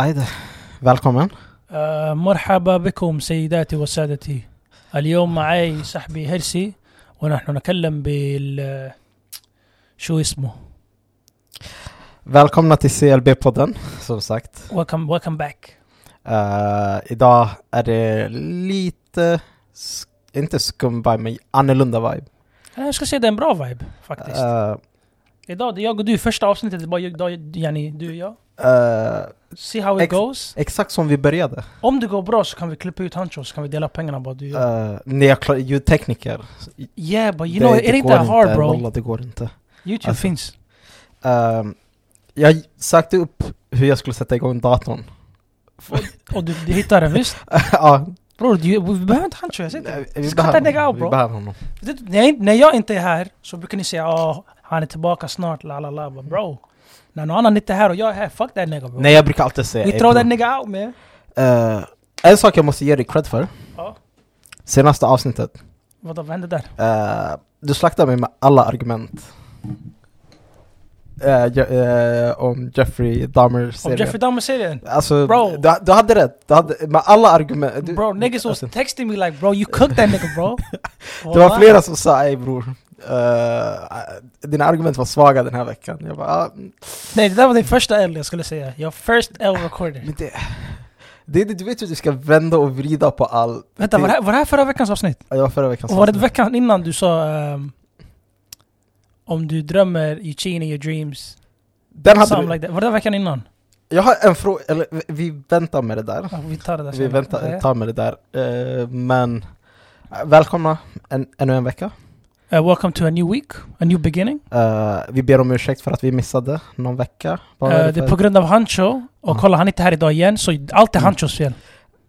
ايضا فالكومن آه، مرحبا بكم سيداتي وسادتي اليوم معي صاحبي هيرسي ونحن نتكلم بال شو اسمه Välkomna till CLB-podden, som sagt. welcome welcome back Eh, idag är det lite, sk- inte skum vibe, men annorlunda vibe. jag ska säga det är en bra vibe faktiskt Eh, idag det är jag och du första avsnittet det är bara jag, idag, yani, du och jag eh, يعني see how it Ex- goes exakt som vi började. om det går bra så kan vi klippa ut Hancho så kan vi dela pengarna bara du och jag Uh, när jag klar, ljudtekniker. yeah but you know it ain't går that hard inte, bro Wallah, det går inte. youtube Alltså. finns Ehm, jag sökte upp hur jag skulle sätta igång datorn. och du, du hittar den visst? ja, Bror du- vi behöver inte Hancho jag säger nej, Ska ta dig av, vi bro. behöver honom. det. När jag, när jag inte är här så brukar ni säga åh han är tillbaka snart la la la But, bro när någon annan inte är här och jag är här fuck that nigga bro Nej, jag brukar alltid säga... We "Ey, throw bro." that nigga out man Eh, en sak jag måste ge dig cred för. Ja. Senaste avsnittet. Vadå vad hände där? Eh, du slaktade mig med alla argument. Eh, Je- eh, om Jeffrey Om Dahmer-serien. Jeffrey Dahmer-serien? Alltså, Bro. du, du hade rätt. Du hade, med alla argument. Du, Bro niggas was alltså, texting me like bro you cooked that nigga bro det var flera som sa ej bror, eh, dina argument var svaga den här veckan. Jag bara, ah, Nej det där var din första L jag skulle säga Your first L recorded men det, det, är det- du vet hur du ska vända och vrida på all... Vänta var det, här, var det här förra veckans avsnitt? Ja, det var förra veckans Och var det avsnitt. veckan innan du sa ehm, Om du drömmer you cheat in your dreams Den hade Something du, like that. Var det veckan innan? jag har en fråga, eller vi- vi väntar med det där. Ja, vi tar det där Vi sen. väntar, Ja. tar med det där. Eh, men eh, välkomna en, ännu en vecka. Uh, welcome to a new week, a new beginning. Eh, vi ber om ursäkt för att vi missade någon vecka. Vad var Eh, det det är för- på grund av Hancho, och Mm. kolla han är inte här idag igen, så allt är Mm. Hanchos fel.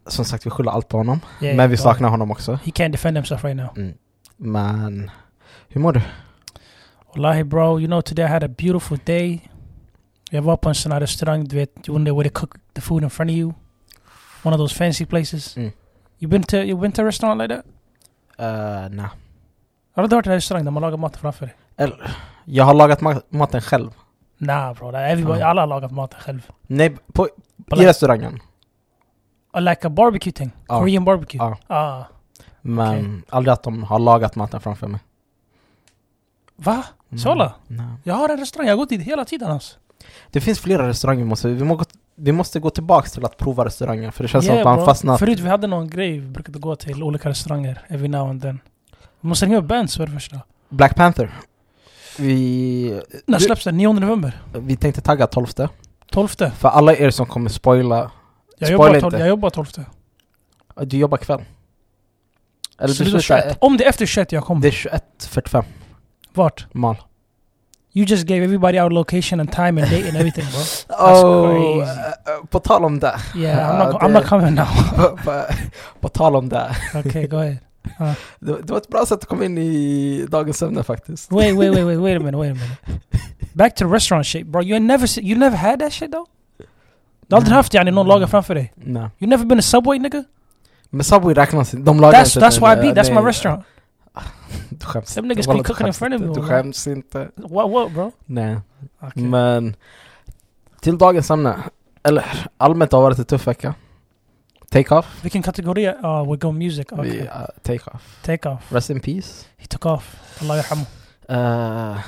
Som sagt, vi skyller allt på honom. Yeah, men vi bro. saknar honom också. He can't defend himself right now. Men hur mår du? Wallahi bro, you know today I had a beautiful day. Jag var på en sån här restaurang, du vet, when they, where they cook the food in front of you. One of those fancy places. Mm. You been to, you been to a restaurant like that? Eh, nej. Har du inte varit i en restaurang där man lagar mat framför dig? Eller, jag har lagat ma- maten själv. Nah bro, like everybody, Mm. alla har lagat maten själv. Nej, på, But i like, restaurangen. uh, like a barbecue thing, Ja. Korean barbecue. Ja. Ah. Men aldrig att de har lagat maten framför mig. Va? Mm. Sala? Nej. Jag har en restaurang, jag har gått dit hela tiden alltså. Det finns flera restauranger vi måste... Vi, må, vi måste gå tillbaka till att prova restauranger för det känns Yeah, som att bro. man fastnar... Förut vi hade någon grej, vi brukade gå till olika restauranger every now and then. Vi måste ringa upp bands för det första. Black Panther. Vi, När Du- släpps den? 9 november? vi tänkte tagga 12 12? För alla er som kommer spoila... Jag Spoila jobbar, inte. tol- jag jobbar 12. Du jobbar kväll. Eller Så du det är slutar... 21. Om det är efter 21 jag kommer. Det är 21.45. Vart? Mal. You just gave everybody our location and time and date and everything bro. That's Oh, crazy. eh, eh, på tal om det. Yeah, I'm Ja, not, I'm not det- coming now. på, på tal om det. Okay, go ahead. det. Det var ett bra sätt att komma in i dagens ämne faktiskt. Wait, wait, wait, wait, wait a minute, wait a minute. Back to restaurant shit bro. You ain't never, se- you never had that shit though? Mm. Du har aldrig haft yani någon lagar framför dig? Nej. You never been a subway nigga? Men Subway räknas inte. De lagar That's, inte that's till- why I be, that's my nej, restaurant. Du skäms Them inte. niggas Walla, keep du cooking in skäms front of inte. me, Du walla. skäms inte. What, what bro? Nej. Okay. Men till dagens ämne. Eller allmänt har varit en tuff vecka. Take-off. Vilken kategori? Ja, we go music. Okay. Vi, eh, Take-off. Take off. Rest in peace. He took off. Allah yarhamu. Eh,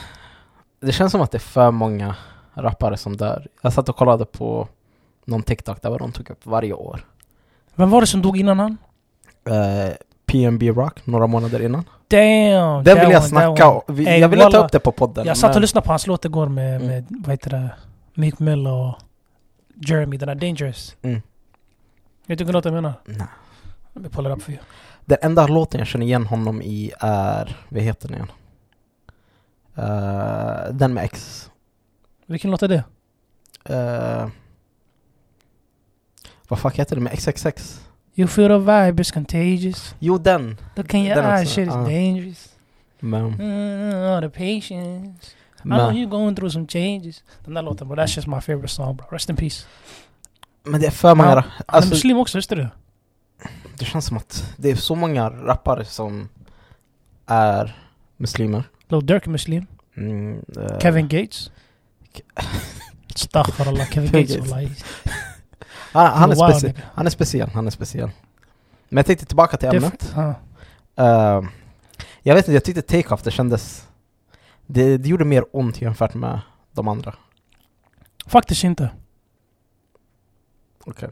det känns som att det är för många rappare som dör. Jag satt och kollade på någon TikTok där vad de tog upp varje år. Vem var det som dog innan han? Eh, PNB Rock, några månader innan. Den Damn! that vill jag one, snacka that one. om. Vi- Ey, Jag ville ta wallah. upp det på podden. Jag satt och men- lyssnade på hans låt igår med, Mm. med vad heter det, Meek Mill och Jeremy, den där Dangerous. Mm. Vet du vilken låt jag menar? Nej. Vi kollar upp för you. Den enda låten jag känner igen honom i är, vad heter den igen? Eh, den med X. Vilken låt är det? Eh, vad fuck heter den med XXX? You feel the vibe is contagious. Jo den! Look in your Den eyes, också, Ah. shit is ja. dangerous. Men, Mm, all the patience. I know men, you're going through some changes. Den där låten bro, that's just my favorite song bro. Rest in peace. men det är för många Ja, ra- Han är alltså, muslim också, visste du det? Det känns som att det är så många rappare som är muslimer. Lil Durk är muslim. Mm, eh, Kevin Gates. Astaghfirullah, Kevin Kevin Gates Gates. wallahi. Han, han, är Wow, specie- nigga. han är speciell, han är speciell. Men jag tänkte tillbaka till ämnet. Diff- ja. Eh, jag vet inte, jag tyckte Take-Off det kändes... Det, det gjorde mer ont jämfört med de andra. Faktiskt inte. Okej.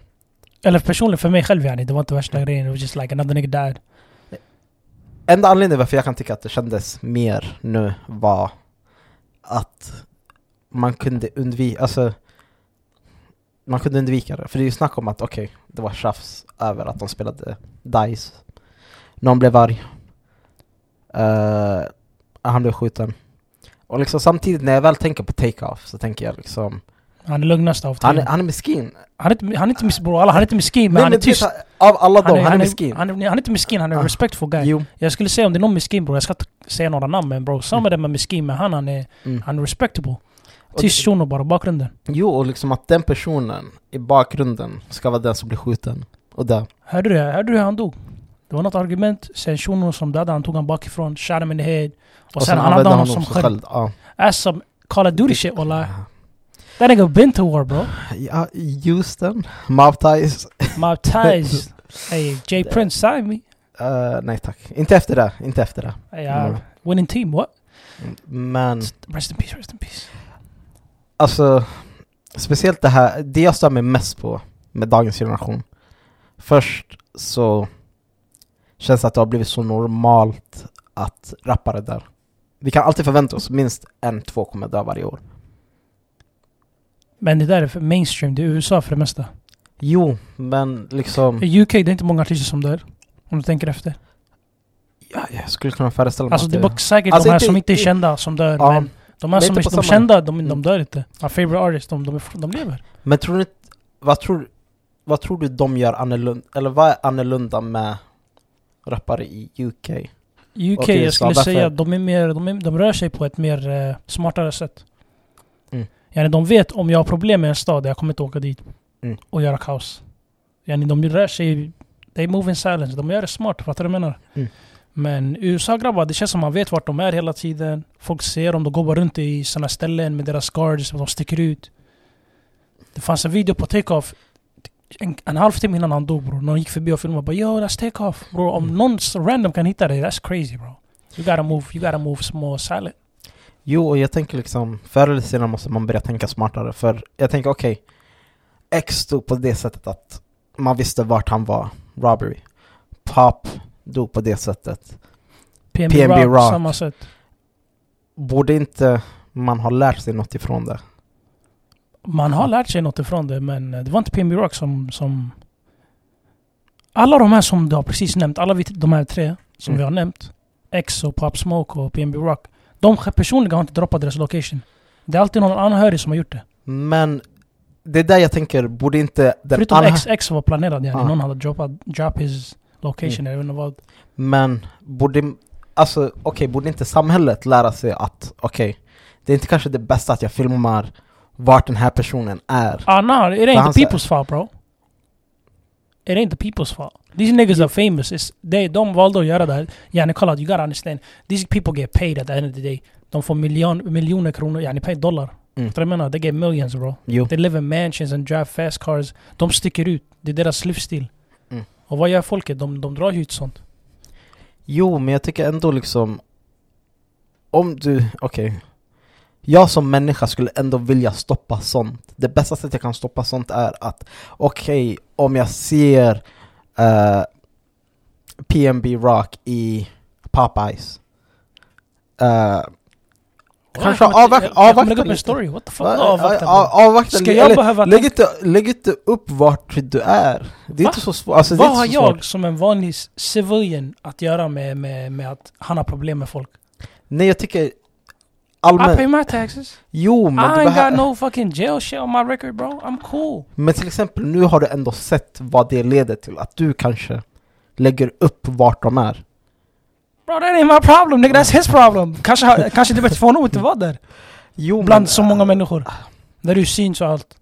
Eller personligen för mig själv yani, det var inte värsta grejen. It was just like another nigga died. Enda anledningen varför jag kan tycka att det kändes mer nu var att man kunde undvika, alltså man kunde undvika det. För det är ju snack om att okej, det var tjafs över att de spelade DICE. Någon blev arg. Eh, han blev skjuten. Och liksom samtidigt när jag väl tänker på Take-Off så tänker jag liksom Han är lugnast av Han tiden. är, han är miskin. Han är inte, han är inte mis- bror, alla, han är inte miskin men Nej, han är men tyst. tyst. Av alla dem, han är, miskin. Han är, han är inte miskin, han är Ah. en respectful guy. Jo. Jag skulle säga om det är någon miskin bror, jag ska inte säga några namn men bror, samma Mm. där med miskin, men han, han är, Mm. han är respectable. Och Tyst det- shuno bara, bakgrunden. Jo, och liksom att den personen i bakgrunden ska vara den som blir skjuten. Och där. Hörde du det? Hörde du hur han dog? Det var något argument, sen shunon som dödade han tog han bakifrån, shot him in the head. Och, sen, han hade honom som sköld. Ja. Ass som Call of Duty shit wallah. That nigga been to war bro. Ja, Houston, Mob Ties. My ties. hey, Jay Det- Prince sign me. Eh, nej tack. Inte efter det, inte efter det. Hey, Mm. uh, winning team, what? Men Rest in peace, rest in peace. alltså, speciellt det här, det jag stör mig mest på med dagens generation. Först så känns det att det har blivit så normalt att rappare där. Vi kan alltid förvänta oss minst en, två kommer dö varje år. Men det där är för mainstream, det är USA för det mesta. Mm. Jo, men liksom, I UK det är inte många artister som dör. Om du tänker efter. ja, jag skulle kunna föreställa mig Alltså att det är bara säkert Mm. Alltså, de här inte- som inte är inte- kända som dör. Ja. Men de här Men som inte är på de samma- kända, de, Mm. de dör inte. My favorite artist, de, de, är- de lever. Men tror du inte- vad tror, vad tror du de gör annorlunda, eller vad är annorlunda med rappare i UK? I UK, Okej, jag så skulle varför- säga att de, är mer, de, är, de rör sig på ett mer eh, smartare sätt. Mm. Yani, de vet om jag har problem med en stad, jag kommer inte åka dit Mm. och göra kaos. Yani, de rör sig, they move in silence. De gör det smart, fattar du vad jag menar? Mm. Men USA-grabbar, det känns som man vet vart de är hela tiden. Folk ser dem, de går bara runt i sådana ställen med deras guards, och de sticker ut. Det fanns en video på take-off en, en halvtimme innan han dog bror. Någon gick förbi och filmade bara yo that's take off bror. Om Mm. någon s- random kan hitta dig, that's crazy bro. You gotta move, you gotta move small silent. Jo, och jag tänker liksom, förr eller senare måste man börja tänka smartare, för jag tänker okej, X stod på det sättet att man visste vart han var, robbery. Pop dog på det sättet. PNB, PNB Rock, Rock. samma sätt. Borde inte man ha lärt sig något ifrån det? Man har lärt sig något ifrån det men eh, det var inte PNB Rock som, som... Alla de här som du har precis nämnt, alla vi, de här tre som Mm. vi har nämnt. X och Pop Smoke och PNB Rock. De sj- personligen har inte droppat deras location. Det är alltid någon anhörig som har gjort det. Men det är där jag tänker, borde inte den Förutom anhö- X, X var planerad yani. Ah. Någon hade droppat drop his location, Mm. jag vet inte vad. Men borde, alltså, okej, borde inte samhället lära sig att okej, det är inte kanske det bästa att jag filmar vart den här personen är? Ah, no, it ain't han the säger- people's fault bro. It ain't the people's fault. These niggas are famous. It's, they, de valde att göra det här. Yani kolla, you gotta understand. These people get paid at the end of the day. De får miljon, miljoner kronor, yani paid dollar. Mm. Förstår du vad jag menar? They get millions bro. Jo, They live in mansions and drive fast cars. De sticker ut. Det är deras livsstil. Mm. Och vad gör folket? De, de drar ju ut sånt. jo men jag tycker ändå liksom om du, okej Jag som människa skulle ändå vilja stoppa sånt. Det bästa sättet jag kan stoppa sånt är att okej, om jag ser eh, PNB Rock i Popeyes eh, Kanske Ah, jag kommer inte- avvak- jag- Jag kommer avvakta lägga upp en lite. story. What the fuck? Ah, Va- Avvakta, ja, bro. ja, eh, Avvakta Ska li- jag eller behöva lägg, inte, lägg inte upp vart du är. Det är Va? inte så svårt. Alltså, det är Vad inte har så svårt. jag som en vanlig civilian att göra med, med, med att han har problem med folk? Nej jag tycker I pay allmänt. my taxes. Jo men, I du ain't behö- got no fucking jail shit on my record bro. I'm cool. men till exempel nu har du ändå sett vad det leder till. Att du kanske lägger upp vart de är. Bro that ain't my problem nigga, that's his problem. Kanske, har- kanske det är bättre för honom att inte vara där. Jo, men, äh, eh, Bland så många människor. Där du syns och allt.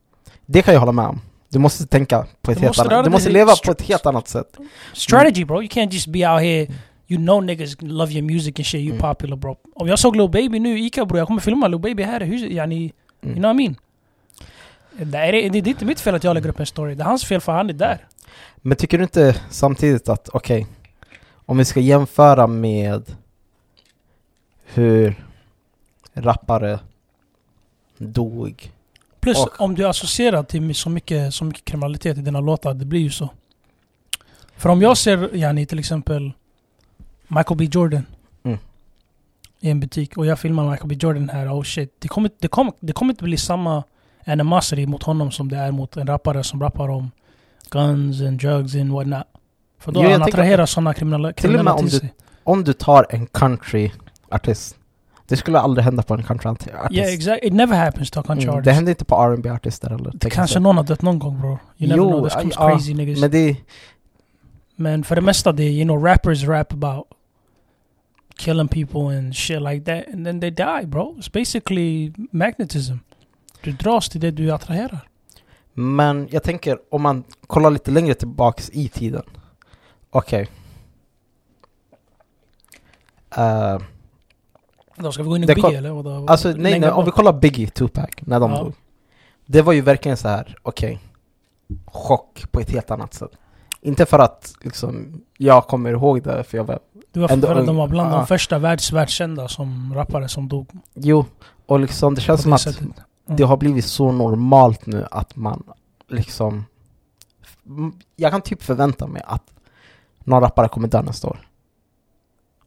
Det kan jag hålla med om. Du måste tänka på ett Du helt måste röra annat Du dig måste i leva str- på ett helt annat sätt. Strategy bro, you can't just be out here You know niggas love your music and shit, you Mm. popular bro. Om jag såg Lil Baby nu i Ica bro, jag kommer filma Lil Baby här i huset yani, Mm. you know what I mean? Nej, det, det, det är inte mitt fel att jag lägger upp en story. Det är hans fel för han är där. Men tycker du inte samtidigt att, okej, om vi ska jämföra med hur rappare dog. Plus, Och- om du är associerad till så mycket, så mycket kriminalitet i dina låtar, det blir ju så. För om jag ser yani, till exempel Michael B Jordan Mm. i en butik och jag filmar Michael B Jordan här, oh shit. Det kommer, det kommer, det kommer inte bli samma animosity mot honom som det är mot en rappare som rappar om guns and drugs and whatnot. För då Jo, jo, jag han tänker- attraherar sådana kriminella, Till och med kriminella om till du- sig. Om du tar en countryartist, det skulle aldrig hända på en countryartist. Ja, exakt. It never happens to a country Mm, artist. det händer inte på rb artister heller. Det tänker kanske jag. någon har dött någon gång bro. You never Jo, know, this comes ja, crazy niggas. Men, Men det är... för det mesta det är, you know, rappers rap about killing people and shit like that. And then they die bro. It's basically magnetism. Du dras till det du attraherar. Men jag tänker om man kollar lite längre tillbaks i tiden. Okej. Eh, Då ska vi gå in i Det Biggie kom- eller? Vadå? alltså nej, nej, Längre om vi bak? kollar Biggie, Tupac, när de Ja. dog. Det var ju verkligen så här, okej. chock på ett helt annat sätt. Inte för att liksom, jag kommer ihåg det för jag var... Du var ändå Ah. för att de var ung. bland Ja. de första världs, världskända som rappare som dog. på Jo, och liksom det det känns som att sättet. det har blivit så normalt nu att man liksom... m- Jag kan typ förvänta mig att någon rappare kommer dö nästa år.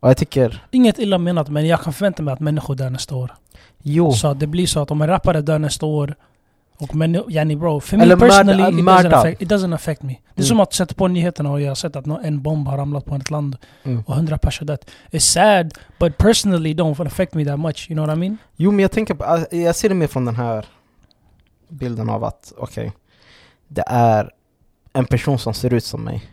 Och jag tycker, Inget illa menat men jag kan förvänta mig att människor dör nästa år. jo. Så att det blir så att om en rappare dör nästa år och men, yani bro, för Eller mig mörda- personally it, doesn't mördad. affect, it doesn't affect me. Det är Mm. som att sätta på nyheterna och jag har sett att nå- en bomb har ramlat på ett land Mm. och hundra personer dött. It's sad but personally don't affect me that much, you know what I mean? Jo men jag tänker på, alltså, jag ser det mer från den här bilden av att, okej, det är en person som ser ut som mig.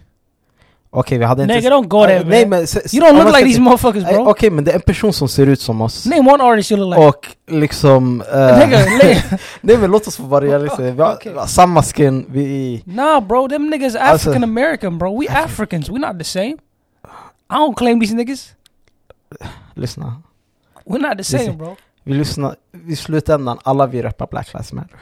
Okej, vi hade inte... Nigga don't go there Ah, nej, man. men, se- se- You don't om man look ska like these till- motherfuckers Eh, bro. Okej, men det är en person som ser ut som oss. Name one artist you look like. Och liksom... eh, Nigga, le- nej men låt oss få vara realistiska. Vi har Okej. vi har samma skin, vi är... nah bro, them niggas Alltså- African American bro. We Africans, we're not the same. I don't claim these niggas. Lyssna. We're not the Listen. same bro. Vi lyssnar, i slutändan, alla vi rappar Black Lives Matter.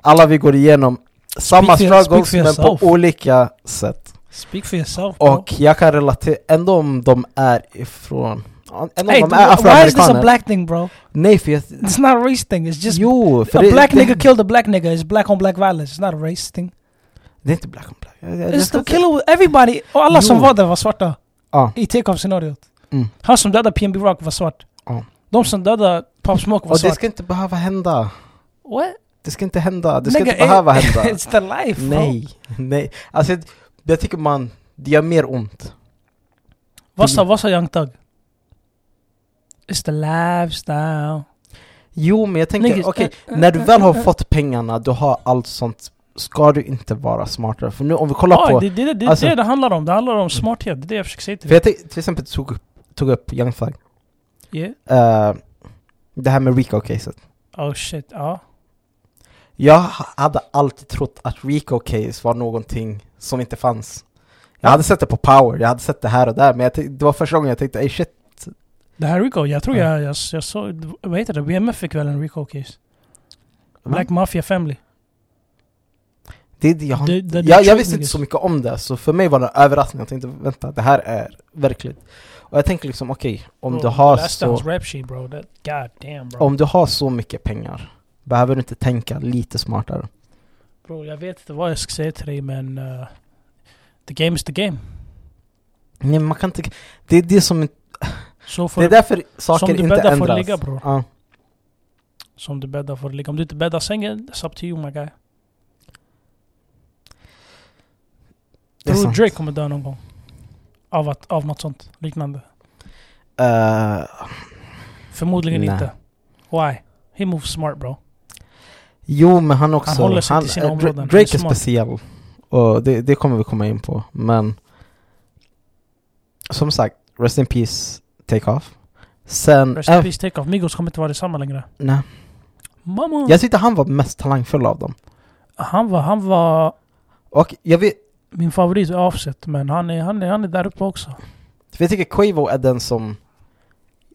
Alla vi går igenom samma Speak for- struggles speak men for på yourself. olika sätt. Speak for yourself bro. Och jag kan relatera, ändå om de är ifrån... Ändå Hey, om de är why is this a afroamerikaner. black thing bro? Nej för jag... It's not a race thing. It's just jo, för a det, black det, nigga killed a black nigga. It's black on black violence. It's not a race thing. det är inte black on black. Jag- jag- jag It's ska the inte- killer with everybody. Och alla som Jo. var där var svarta. Ja. I take-off scenariot. Mm. Han som dödade PNB Rock var svart. Ja. De som dödade Pop Smoke var Och det svart. ska inte behöva hända. What? Det ska inte hända. Det ska Nigga, inte behöva eh, hända. It's the life bro. Nej, nej. Alltså jag- jag tycker man, det gör mer ont. Vad sa, vad sa Young Thug? It's the lifestyle. Jo men jag Niggas, tänker, okej, eh, eh, när du eh, väl har eh, eh. fått pengarna, du har allt sånt, ska du inte vara smartare? För nu om vi kollar Ja, på, det är det, det, det, alltså- det det handlar om. Det handlar om smarthet. Det är det jag försöker säga till för dig. jag tänk- till exempel tog, upp- tog upp Young Thug, Yeah. Eh, det här med Rico-caset. Oh shit, ja. Jag ha- hade alltid trott att Rico-case var någonting som inte fanns. Jag hade sett det på Power, jag hade sett det här och där, men jag tänk- det var första gången jag tänkte ey shit, Det här Rico, jag tror Ja. jag, jag, jag såg, vad heter det? BMF fick väl en Rico-case? Va? Black Mafia Family. det, det, jag, har- Det- det- det jag, jag tror visste jag. inte så mycket om det, så för mig var det en överraskning. Jag tänkte vänta, det här är verkligt. Och jag tänker liksom okej, om Bro, du har jag läste så... hans rap sheet bro. That, god damn bro. Om du har så mycket pengar, behöver du inte tänka lite smartare? bro. Jag vet inte vad jag ska säga till dig men... eh, the game is the game. Nej, man kan inte... Det är det som... Så får, Det är därför saker som du inte bäddar får ändras. ligga, bror. Ja. som du bäddar får du ligga. Om du inte bäddar sängen, it's up to you my guy. det är Tror sant. du Drake kommer dö någon gång? Av, att, av något sånt liknande? Eh, Förmodligen Nej. inte. Why? He moves smart bro. jo, men han också... Han håller sig till sina eh, Dra- områden, han är Drake är smart. speciell. Och det, det kommer vi komma in på, men... Som sagt, Rest in Peace, Take Off. Sen... Rest in eh, peace take off. Migos kommer inte vara detsamma längre. nej. Mamma! Jag tyckte han var mest talangfull av dem. Han var, han var Och jag vet... min favorit i Offset men han är, han är, han är där uppe också. för Jag tycker Quavo är den som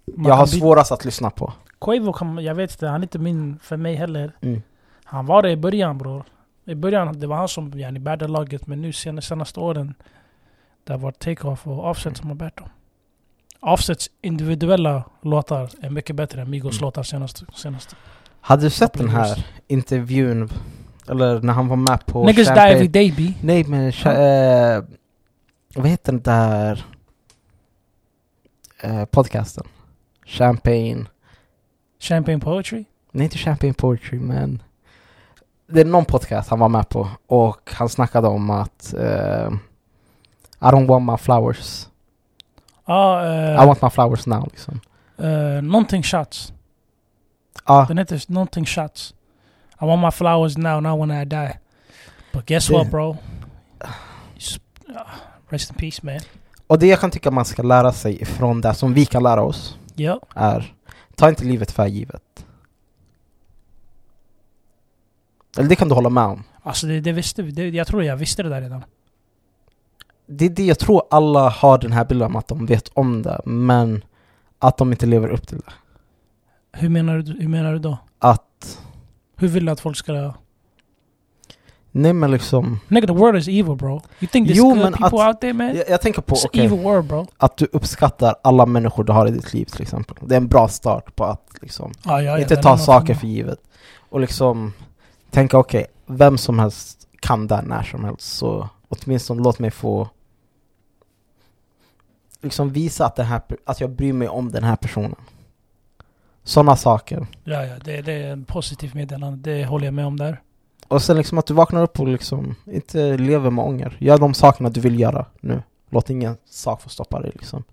Man jag har kan byta- svårast att lyssna på. Quavo kan, jag vet inte, han är inte min för mig heller. Mm. Han var det i början bror. I bärde det var han som yani, bärde laget men nu senaste, senaste åren det har varit Takeoff och Offset som har bärt dem. Offsets individuella låtar är mycket bättre än Migos Mm. låtar senaste. senaste. Hade du sett den Couple years. här intervjun? Eller när han var med på... Niggas die Champagne- every day B. Nej men... Cha- eh, vad heter den där... Eh, podcasten? Champagne... Champagne poetry. Nej inte Champagne Poetry men... Det är någon podcast han var med på och han snackade om att... Eh, I don't want my flowers. Ja, I eh, want my flowers now liksom. eh, någonting shots. Ja, Den heter någonting shots. I want my flowers now, not when I die. But guess Det- what bro? It's- ah, Rest in peace man. och det jag kan tycka man ska lära sig ifrån det som vi kan lära oss Ja, är Ta inte livet för givet. Eller det kan du hålla med om. alltså det, det visste vi. Det, jag tror jag visste det där redan. Det är det jag tror alla har den här bilden om att de vet om det, men att de inte lever upp till det. Hur menar du, hur menar du då? Att, Hur vill du att folk ska... nej men liksom... Nigga the world is evil bro. You think there's Jo, good men people att- out there man? Jag, jag tänker på, It's okej, evil world bro. Ah, att du uppskattar alla människor du har i ditt liv till exempel. Det är en bra start på att liksom Ah, ja, ja, inte den ta är något saker annat. för givet. Och liksom tänka okej, vem som helst kan det när som helst. Så åtminstone låt mig få liksom visa att, den här, per- att jag bryr mig om den här personen. Sådana saker. Ja, ja, det, det är en positiv meddelande. Det håller jag med om där. Och sen liksom att du vaknar upp och liksom inte lever med ånger. Gör de sakerna du vill göra nu. Låt ingen sak få stoppa dig liksom.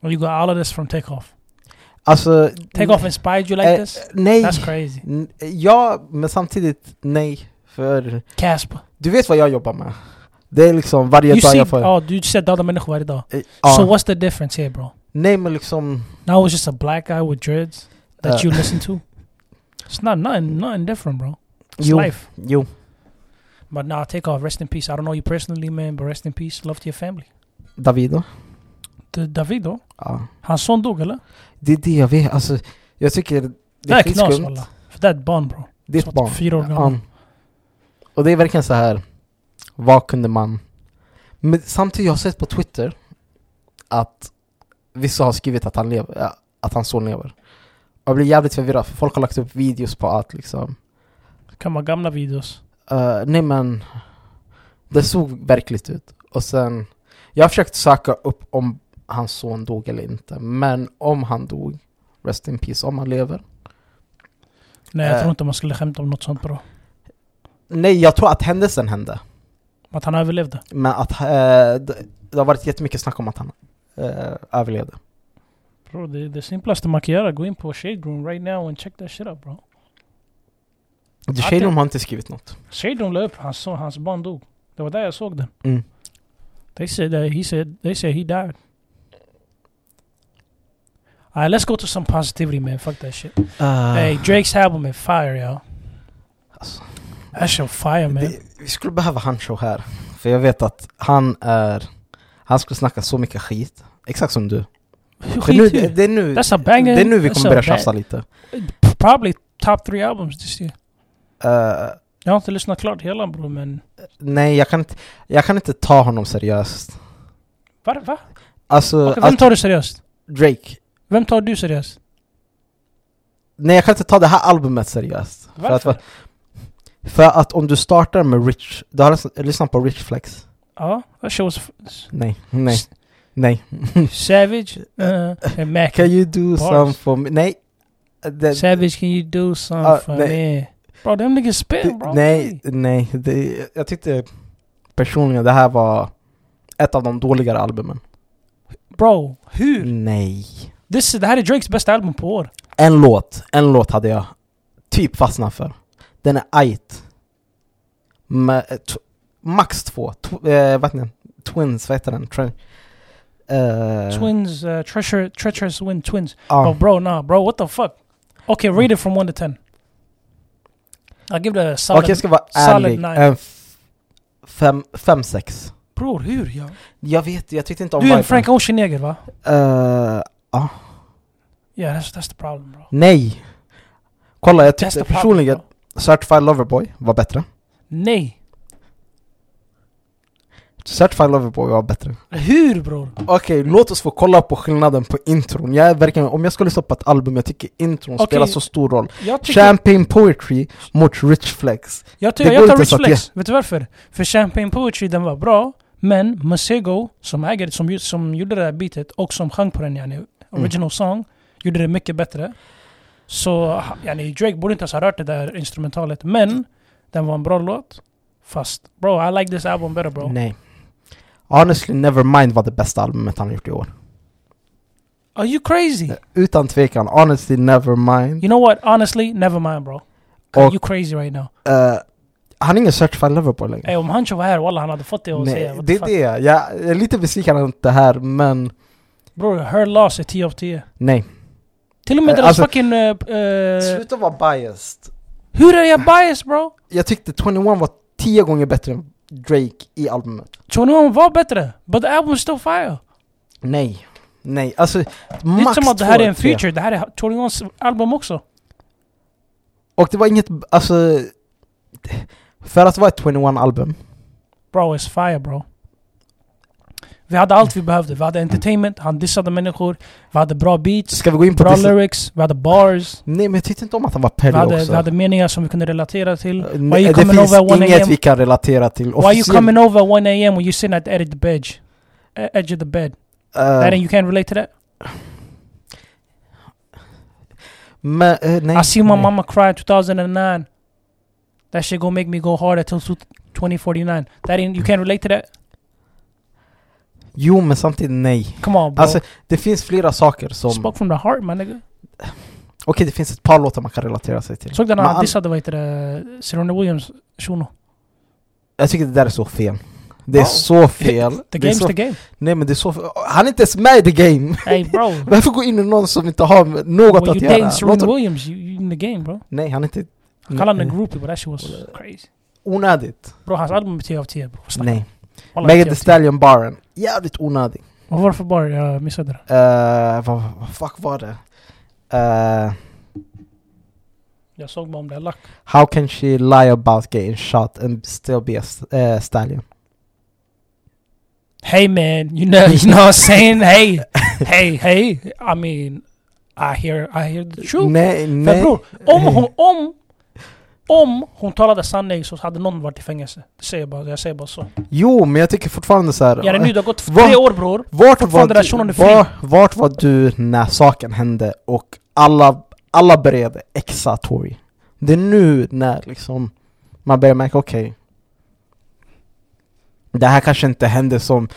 Och you got all of this from Takeoff. Alltså... Takeoff inspired you like eh, this? Nej! That's crazy. N- Ja, men samtidigt nej. För Casper. du vet vad jag jobbar med. Det är liksom varje You dag see, jag får... ja du ser döda människor varje dag. Eh, ja. So what's the difference here bro? Nej men liksom... Now it's just a black guy with dreads that Eh. you listen to. It's not nothing, nothing different bro. It's Jo, life. jo. But nah, Takeoff, rest in peace. I don't know you personally man, but rest in peace. Love to your family. Davido. D- David då? Ja. Hans son dog eller? Det är det jag vet. Alltså, jag tycker det Det är är knas skitskumt. walla. För det är ett barn bro. Det är Som ett att barn. Fyra år Ja. gammal. Och det är verkligen så här. Vad kunde man? Men samtidigt, jag har sett på Twitter att vissa har skrivit att han, lever, ja, att hans son lever. Och jag blir jävligt förvirrad för folk har lagt upp videos på att liksom... Kan vara gamla videos. eh, nej men... Det såg verkligt ut. Och sen... Jag har försökt söka upp om hans son dog eller inte. Men om han dog, rest in peace, om han lever. Nej jag Eh. tror inte man skulle skämta om något sånt bro. Nej, jag tror att händelsen hände. Att han överlevde. Men att eh, det, det har varit jättemycket snack om att han eh, överlevde. Bro, det, det simplaste man kan göra är gå in på Shade Room right now and check that shit up bro. Du, Att Shailon det- har inte skrivit något. Shade Room la upp hans, son- hans barn dog. Det var där jag såg den. Mm. They said that he said they said he died. Alright let's go to some positivity man, fuck that shit. Ah. Hey Drakes album is fire yo. Alltså. That shit fire man. det, vi skulle behöva han show här. För jag vet att han är... Han skulle snacka så mycket skit. Exakt som du. Hur För nu, skit det, hur? det, är nu, That's a banger. det är nu vi That's kommer a börja ba- tjafsa lite. Probably top three albums this year. Eh, Jag har inte lyssnat klart hela bro men... nej, jag kan, inte, jag kan inte ta honom seriöst. Va? va? Uh, Alltså, Okej, vem att tar du seriöst? Drake. Vem tar du seriöst? Nej, jag kan inte ta det här albumet seriöst. För att, Varför? va- för att om du startar med Rich... Du har lyssnat- lyssnat på Rich Flex? Ja, Oh, that shit was... f- Nej, nej, nej. Savage uh, and Mac. Can you do Bars. some for me? Nej. Det, Savage, can you do something Ah, for nej. me? Bro, them niggas det, spin bro. nej, nej. Det, jag tyckte personligen det här var ett av de dåligare albumen. Bro, Mm. hur? Nej. This, det här är Drakes bästa album på år. En låt, en låt hade jag typ fastnat för. Den är ajt. Med, eh, t- max två. Tw- eh, vad heter den? Twins, vad heter den? Tre- eh, Twins, uh, treasure, Treacherous Win Twins. ja. But bro, nah bro, what the fuck? Okay, rate it from 1 to 10. I'll give it a Okej, solid... jag ska vara solid ärlig. nine. En f- fem, fem, sex. Bror, hur? Ja. Jag vet, jag tyckte inte om Du är en viben. Frank Ocean-neger va? Eh, Yeah, that's, that's the problem bro. Nej! Kolla, jag tyckte Testa personligen Pablo. Certified Loverboy var bättre. Nej! Certified Loverboy var bättre. Hur bror? Okej, låt oss få kolla på skillnaden på intron. Jag är verkligen, om jag skulle lyssna på ett album, jag tycker intron Okej. spelar så stor roll. Jag tycker... Champagne Poetry mot Rich Flex. Jag, det tycker, går jag tar inte ens Rich att Flex. Vet du varför? För Champagne Poetry den var bra, men Masego, som äger som, ju- som gjorde det här beatet och som sjöng på den, Mm. yani, original song, gjorde det mycket bättre. Så yani, Drake borde inte ens ha rört det där instrumentalet, men den var en bra låt. Fast bro, I like this album better bro. Nej. Honestly, Nevermind var det bästa albumet han gjort i år. Are you crazy? Utan tvekan, Honestly Nevermind. You know what? Honestly, never mind bro. Och You crazy right now. eh, han är ingen Certified Loverboy längre. Ey, om Hancho var här, walla han hade fått det att säga. Nej, what det är the fuck. det. Jag jag är lite besviken att det här, men Bro, her loss är 10 av 10. nej. Till och med Eh, deras alltså- fucking... eh, eh, Sluta vara biased. Hur är jag biased bro? Jag tyckte 21 var tio gånger bättre än Drake i albumet. Chonon var bättre, but the album is still fire. Nej. Nej, alltså Det är max inte som att det här två, är en tre. feature, det här är Chonons album också. Och det var inget, alltså... För att vara ett 21-album, Bro, it's fire bro. Vi hade allt vi behövde. Vi hade entertainment, han dissade människor, vi hade bra beats, ska vi gå in på... bra dis- lyrics, vi hade bars, Nej men jag tyckte inte om att han var vi Perry hade, också. vi hade meningar som vi kunde relatera till. Eh, you Nej, det coming finns over at 1 inget AM? vi kan relatera till. Why you coming over at 1 a.m. when you sitting at the edge of the bed? Eh, Edge of the bed. That Uh, ain't you can't relate to that? men, eh, nej, I see my nej. mama cry in 2009. That shit gonna make me go hard until 2049. That ain't, you can't relate to that? Jo men samtidigt nej. Come on bro. Alltså det finns flera saker som... Okej Spoke from the heart my nigga. det finns ett par låtar man kan relatera sig till. Såg du när Men han an- dissade vad heter det, Serena Williams shuno? Jag tycker det där är så fel. Det är Oh. så fel. The det är game's så, the game. Nej men det är så fel. Han är inte ens med i the game! Hey bro. when Varför gå in i någon som inte har med något you att göra? dating Låt Serena honom- Williams, you, you in the game bro. Nej han är inte... Kalla honom en groupie but that shit was crazy. Onödigt. Bro hans album är 10 av 10 bro. Vad snackar Nej. du om? Wallah, Megan 10 Thee av 10. Stallion Baren. Jävligt onödig. Och Varför bara jag missade det? Eh, vad, vad fuck var det? Eh, Jag såg bara om det, lack. how can she lie about getting shot and still be a s- eh, stallion? Hey man, you know, you know what I'm saying? Hey, hey, hey. I mean, I hear, I hear the truth. Nej, Men nej. bror, om eh. hon, om, om hon talade sanning så hade någon varit i fängelse. Det säger jag bara, jag säger bara så. Jo, men jag tycker fortfarande så här. Jerry, nu det har gått Va? tre år bror. Vart var, Fortfarande du, där shunon är fri. var, vart var du när saken hände och alla, alla började exa Tory? Det är nu när liksom man börjar märka, okej Det här kanske inte hände som...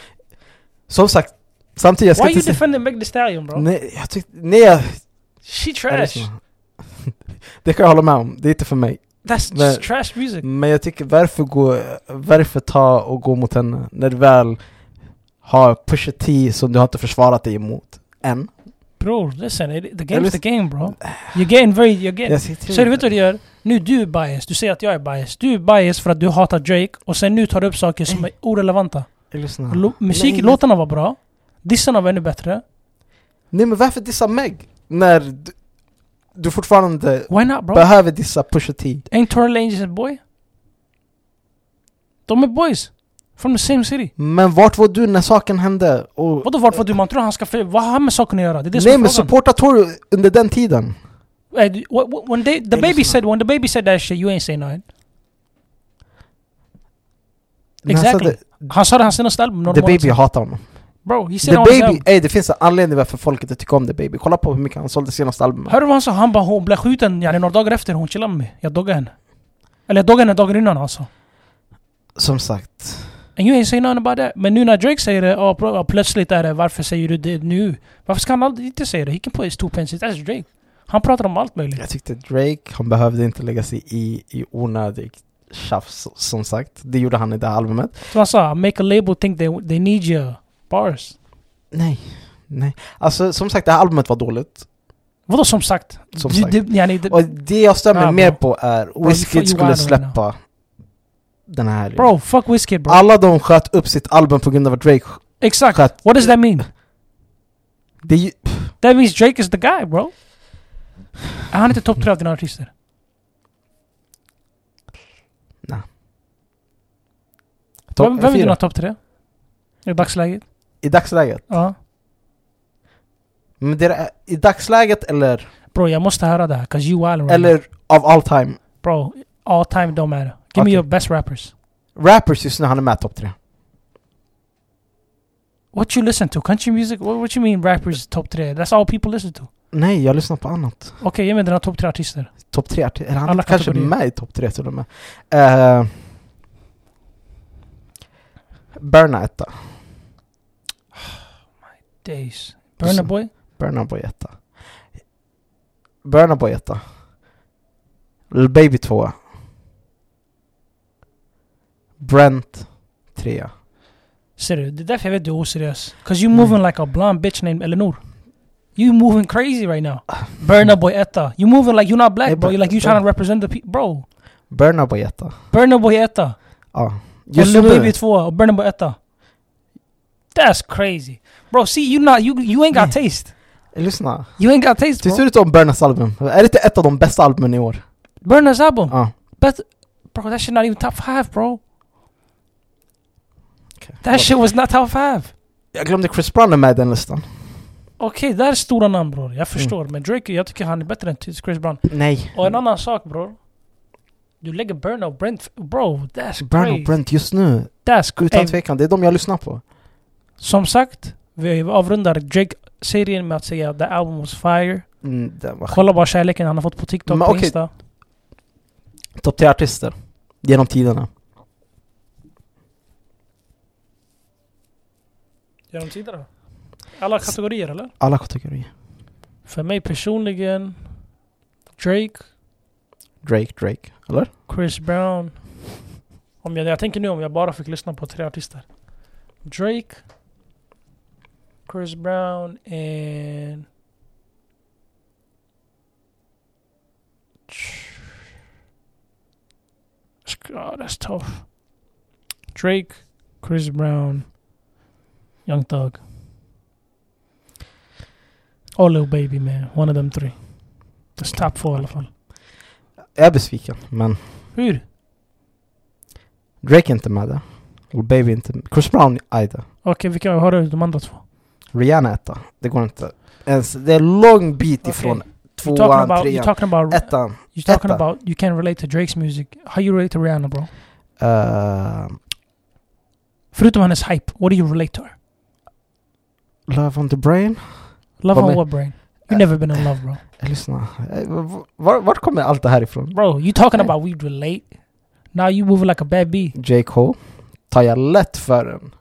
Som sagt, samtidigt jag ska Why you inte säga... defending Meg Thee Stallion bro? Nej, jag tyckte... Nej, jag, She är det, trash. så? det kan jag hålla med om, det är inte för mig That's Men- just trash music. Men jag tycker varför, gå, varför ta och gå mot henne när du väl har Pusha T som du har inte försvarat dig emot än? Bror, listen, it, the Jag game's lyssn- the game bro. You're getting very, you're getting... Jag sitter- Så du vet vad du gör? Nu du är biased, du säger att jag är biased. Du är biased för att du hatar Drake och sen nu tar du upp saker Eh. som är orelevanta. Jag lyssnar. Lo- musik, Nej, låtarna var bra. Dissarna var ännu bättre. Nej men varför dissa Meg? När du, du fortfarande Why not bro? behöver dissa Pusha T? Ain't Tory Lanez en boy? De är boys. From the same city. Men vart var du när saken hände? Och, Vadå vart var du? Man tror han ska... För, vad har han med saken att göra? Det är det som Eh. nej är men frågan. supporta Tory under den tiden Ey, du- wh- wh- when they, the Jag baby lyssnar. said when the baby said that shit you ain't say nothing. Men han sa Exactly. Han sa det i hans senaste album. The Normal liksom. Baby, jag hatar honom Bro, The he said on his Baby, album. ey det finns en anledning varför folk inte tycker om The Baby Kolla på hur mycket han sålde senaste albumet Hör du vad han sa? Han bara hon blev skjuten yani, några dagar efter hon chillade med mig. Jag doggade henne. Eller jag doggade henne dagen innan alltså. Som sagt And you ain't say nothing about that. Men nu när Drake säger det, ja, bro, ja, plötsligt är det varför säger du det nu? Varför ska han aldrig inte säga det? He can put his two pence, that's Drake. Han pratar om allt möjligt. Jag tyckte Drake, han behövde inte lägga sig i, i onödigt tjafs som sagt Det gjorde han i det här albumet Som han sa, make a label think they, they need you. Bars. Nej, nej Alltså som sagt det här albumet var dåligt Vadå som sagt? Som Du- sagt. du- yani, det- Och det jag stör mig Ah, mer bro. på är you fuck- you Wizkid skulle wild right släppa den här helgen. bro, fuck Wizkid bro. Alla de sköt upp sitt album på grund av att Drake sk- Exakt. sköt... What does that mean? Det är ju... pff, That means Drake is the guy bro. Är han inte topp tre av dina artister? Topp vem, vem är fyra. dina topp tre? I dagsläget? I dagsläget? Ja. Men det är, I dagsläget eller, Bro, jag måste höra det här. 'Cause you Allen right now. eller of all time? Bro, all time don't matter. Give me Okej. your best rappers. Rappers just nu, han är med i topp tre. What you listen to? Country music? What, what you mean rappers top tre? That's all people listen to. Nej, jag lyssnar på annat. Okej, ge mig dina topp tre artister. Topp tre artister, eller han Alla är kanske kategorier. med i topp tre till och med. Uh, Burna etta, Days. Lyssna. Burna Boy? Burna Boy etta. Burna Boy etta. Lil Baby tvåa. Brent trea. Ser du? Det är därför jag vet du är oseriös. 'Cause Mm. you moving like a blonde bitch named Eleanor. You moving crazy right now. Burna Boy Etta. You moving like you're not black Hey, bro. but- You're like you trying to represent the people. Bro. Burna Boy etta. Burna Boy Etta. Ja. Just och Lil Baby 2 och Burna Boy 1 That's crazy Bro see you not, you, you ain't got taste Lyssna. You ain't got taste Tyckte bro du inte om Burnas album? Är det inte ett av de bästa albumen i år? Burna's album Ja. Bro that shit not even top 5 bro Okej. That shit was not top 5 Jag glömde Chris Brown är med i den listan. Okej där är stora namn bror Mm. jag förstår men Drake jag tycker han är bättre än Chris Brown Nej. Och en annan sak bror Du lägger Burna och Brent Bro that's Burn crazy och Brent just nu, That's utan crazy tvekan. Det är de jag lyssnar på. Som sagt vi avrundar Drake-serien med att säga the album was fire Mm, den var Kolla bara kärleken han har fått på TikTok, Men på okej. Insta. Topp 10 artister. Genom tiderna. Genom tiderna? Alla kategorier eller? Alla kategorier. För mig personligen Drake, Drake, Drake. Eller? Chris Brown. Om jag, jag tänker nu om jag bara fick lyssna på tre artister. Drake, Chris Brown and... Sk- ah, that's tough. Drake, Chris Brown, Young Thug. Or Lil Baby man, one of them three. That's top four i alla fall. Jag är besviken, men Hur? Drake är inte med där. Och Baby är inte med. Chris Brown, aj då. Okej, vilka har du de andra två? Rihanna etta. Det går inte. Ens, det är lång bit Okej. ifrån You talking tvåan, about, you trean, talking about, ettan. you talking etta. about, you can relate to Drakes music. How you relate to Rihanna bro? Uh, Förutom hennes hype, what do you relate to her? Love on the brain. Love Vad on men- what brain? You Eh. never been in love bro. Eh, Lyssna, Eh, v- var, var kommer allt det här ifrån? Bro, you talking Eh. about we relate? Now you moving like a bad bee. J. Cole, tar jag lätt för en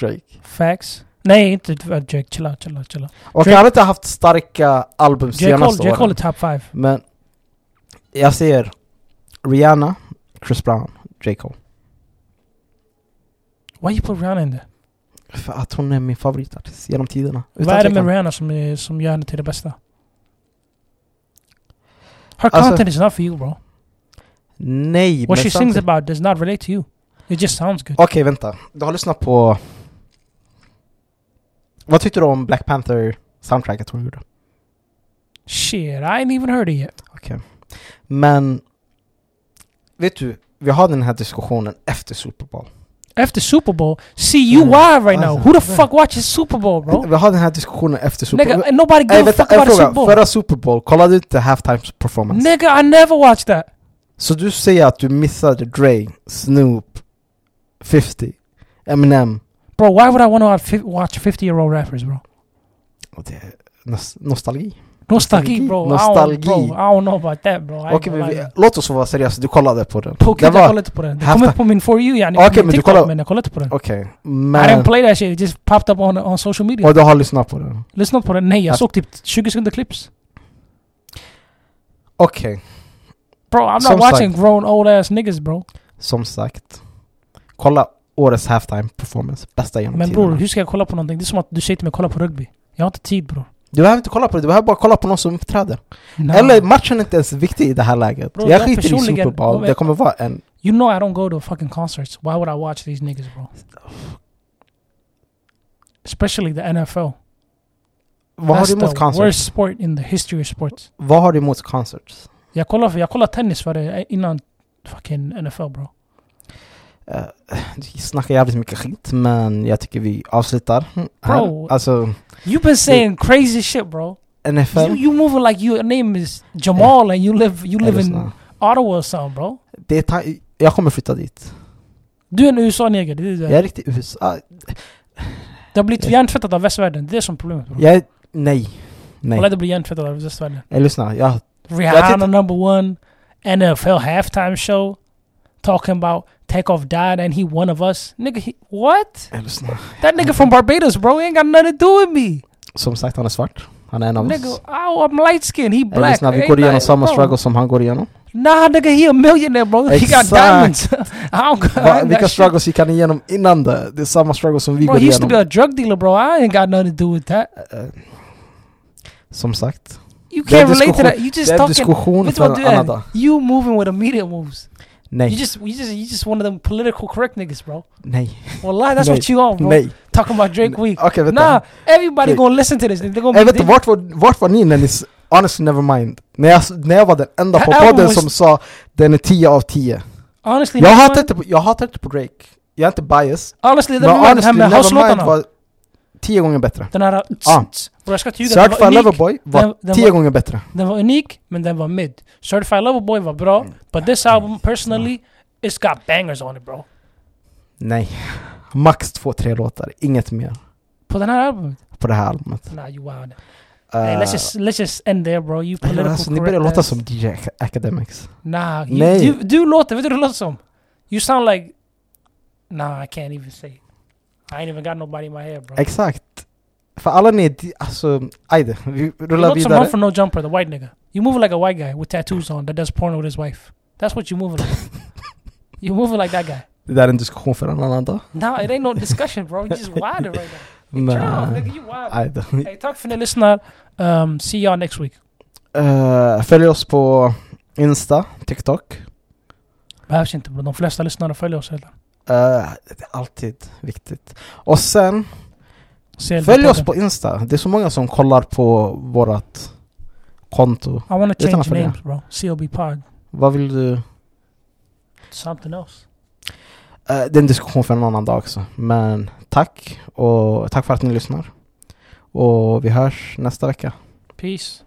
Drake? Facts. Nej, inte uh, Drake. Chilla, chilla, chilla. Och Drake- han har inte haft starka album J. senaste Cole, J. Cole är åren. top five. Men jag ser Rihanna, Chris Brown, J. Cole. Why you put Rihanna in there? För att hon är min favoritartist genom tiderna. Vad är det med tvekan. Rihanna som, är, som gör henne till det bästa? Her Alltså- content is not for you bro. Nej, What men she sings samtidigt- about does not relate to you. It just sounds good. Okej, vänta. Du har lyssnat på... Vad tyckte du om Black Panther-soundtracket hon gjorde? Shit, I ain't even heard it yet. Men... Vet du, vi har den här diskussionen efter Super Bowl. After Super Bowl, see you why right now. Who the Mm-hmm. Yeah. fuck watches Super Bowl, bro? Vi har den här diskussionen efter Super Bowl. Nigga, and nobody Nej, give a vänta, fuck en about the Super fråga. Bowl. Förra Super Bowl, kollade du inte halftime performance? Nigga, I never watched that. Så du säger att du missade Dre, Snoop, 50, Eminem. Bro, why would I want to watch 50 year old rappers, bro? Och det är nos- nostalgi. Nostalgi, bro. I don't, Nostalgi. bro. I don't know about that, bro. I Okej, men vi, låt oss vara seriösa, du kollade på den. Poker, Det jag var- kollade inte på den. Det kom Halftime. upp på min For You, yani. Okej, på men min du TikTok, kollar- Men jag kollade inte på den. Okej, I didn't men... play that shit, it just popped up on, on social media. Och du har lyssnat på den? Lyssna på den. Nej, jag Half- såg typ 20 sekunder clips. Okej, Bro, I'm not Som sagt. watching grown old ass niggas, bro. som sagt. Kolla årets halftime performance, bästa genom Men tiderna. bror, hur ska jag kolla på någonting? Det är som att du säger till mig kolla på rugby. Jag har inte tid bror. Du behöver inte kolla på det, du behöver bara kolla på någon som uppträder. No. Eller matchen är inte ens viktig i det här läget. Bro, jag jag skiter i personligen- Super om Bowl, jag- det kommer vara en... You know I don't go to fucking concerts. Why would I watch these niggas bro? Especially the NFL. Vad har That's du emot the concerts? worst sport in the history of sports. Vad har du emot concerts? Jag kollade, jag kollade tennis för det innan eh, fucking NFL bro. Eh, Vi snackar jävligt mycket skit, men jag tycker vi avslutar här. Bro. Alltså, You've been saying crazy shit bro. You, NFL. you moving like your name is Jamal and you live you live in lyssna. Ottawa or something bro. det är ta- jag kommer flytta dit. Du är en USA-neger, det är det. Jag är riktigt USA. Det har blivit hjärntvättat av västvärlden, det är det som är problemet bro. Jag är... Nej. Kolla Nej. det blir hjärntvättat av västvärlden. Jag lyssnar. Jag, Rihanna number one, NFL halftime show, talking about Takeoff died and he one of us. Nigga, he, what? jag lyssnar. That nigga from Barbados, bro, he ain't got nothing to do with me. Som sagt, han är svart. Han är en av Nigga, oss. oh, I'm light skinned, he Jag black. lyssnar, vi Ain't går igenom nothing- samma bro. struggle som han går igenom. Nah, nigga, he a millionaire, bro. He got Exakt. diamonds. I don't got Va, that vilka shit. struggles gick han igenom innan det? Det är samma struggle som vi Bro, går he used to be igenom. a drug dealer, bro. I ain't got nothing to do with that. Eh, Som sagt, You Det är can't relate to diskussion- that. You just det är en talking. diskussion Vet du för vad en du annan dag. är? You moving with the media moves. You Nej, just, you just, you just one of them political correct niggas, bro. nej, Well, lie, that's Nej. what you are, bro. nej. Talking about Drake Nej. Week. Okej, vänta. Nah, everybody Drake. gonna listen to this. They're gonna Jag be, vet inte, vart var, vart var ni när ni... s- Honestly never mind. När jag, s- när jag var den enda på Det här podden var- som sa den är 10 av 10. honestly, Jag never hatar mind. inte, på- jag hatar inte på Drake. Jag är inte bias. Honestly, Men never mind. Det här honestly med never mind house-låtarna. var 10 gånger bättre. Den här... Ah. Bro, jag ska inte ljuga. Den Certified var unik. Loverboy Den- var den 10 var- gånger bättre. Den var unik, men den var mid. Certified Lover Boy var bra, Mm. but this album personally, it's got bangers on it bro. Nej. Max 2-3 låtar, inget mer På den här albumet? på det här albumet. Nah, you wild. Eh, Hey, let's just let's just end there bro. You Men political alltså, ni börjar correct låta ass. som DJ Ac- Academics. Nah, you, Nej. Du, du låter, vet du hur du låter som? You sound like... Nah, I can't even say. I ain't even got nobody in my head bro. Exakt. För alla ni, di- alltså, ajde, vi You rullar look someone vidare. for no jumper, the white nigga. You move like a white guy with tattoos on that does porn with his wife. That's what you move like. you moving like that guy. Det där är en diskussion för en annan dag. Nah, it ain't no discussion, bro. You just wild right now. Turn Men, off, eh, nigga. You wild. ajde. Hey, tack för att ni lyssnar. Um, see y'all next week. Eh, Följ oss på Insta, TikTok. Behövs inte bro. De flesta lyssnare följer oss redan. Eh, det är alltid viktigt. Och sen, CLB följ oss podden. på Insta. Det är så många som kollar på vårat konto. I wanna Utan att change följa. names bro. CLB pod. Vad vill du? Something else. Eh, det är en diskussion för en annan dag också. Men tack, och tack för att ni lyssnar. Och vi hörs nästa vecka. Peace.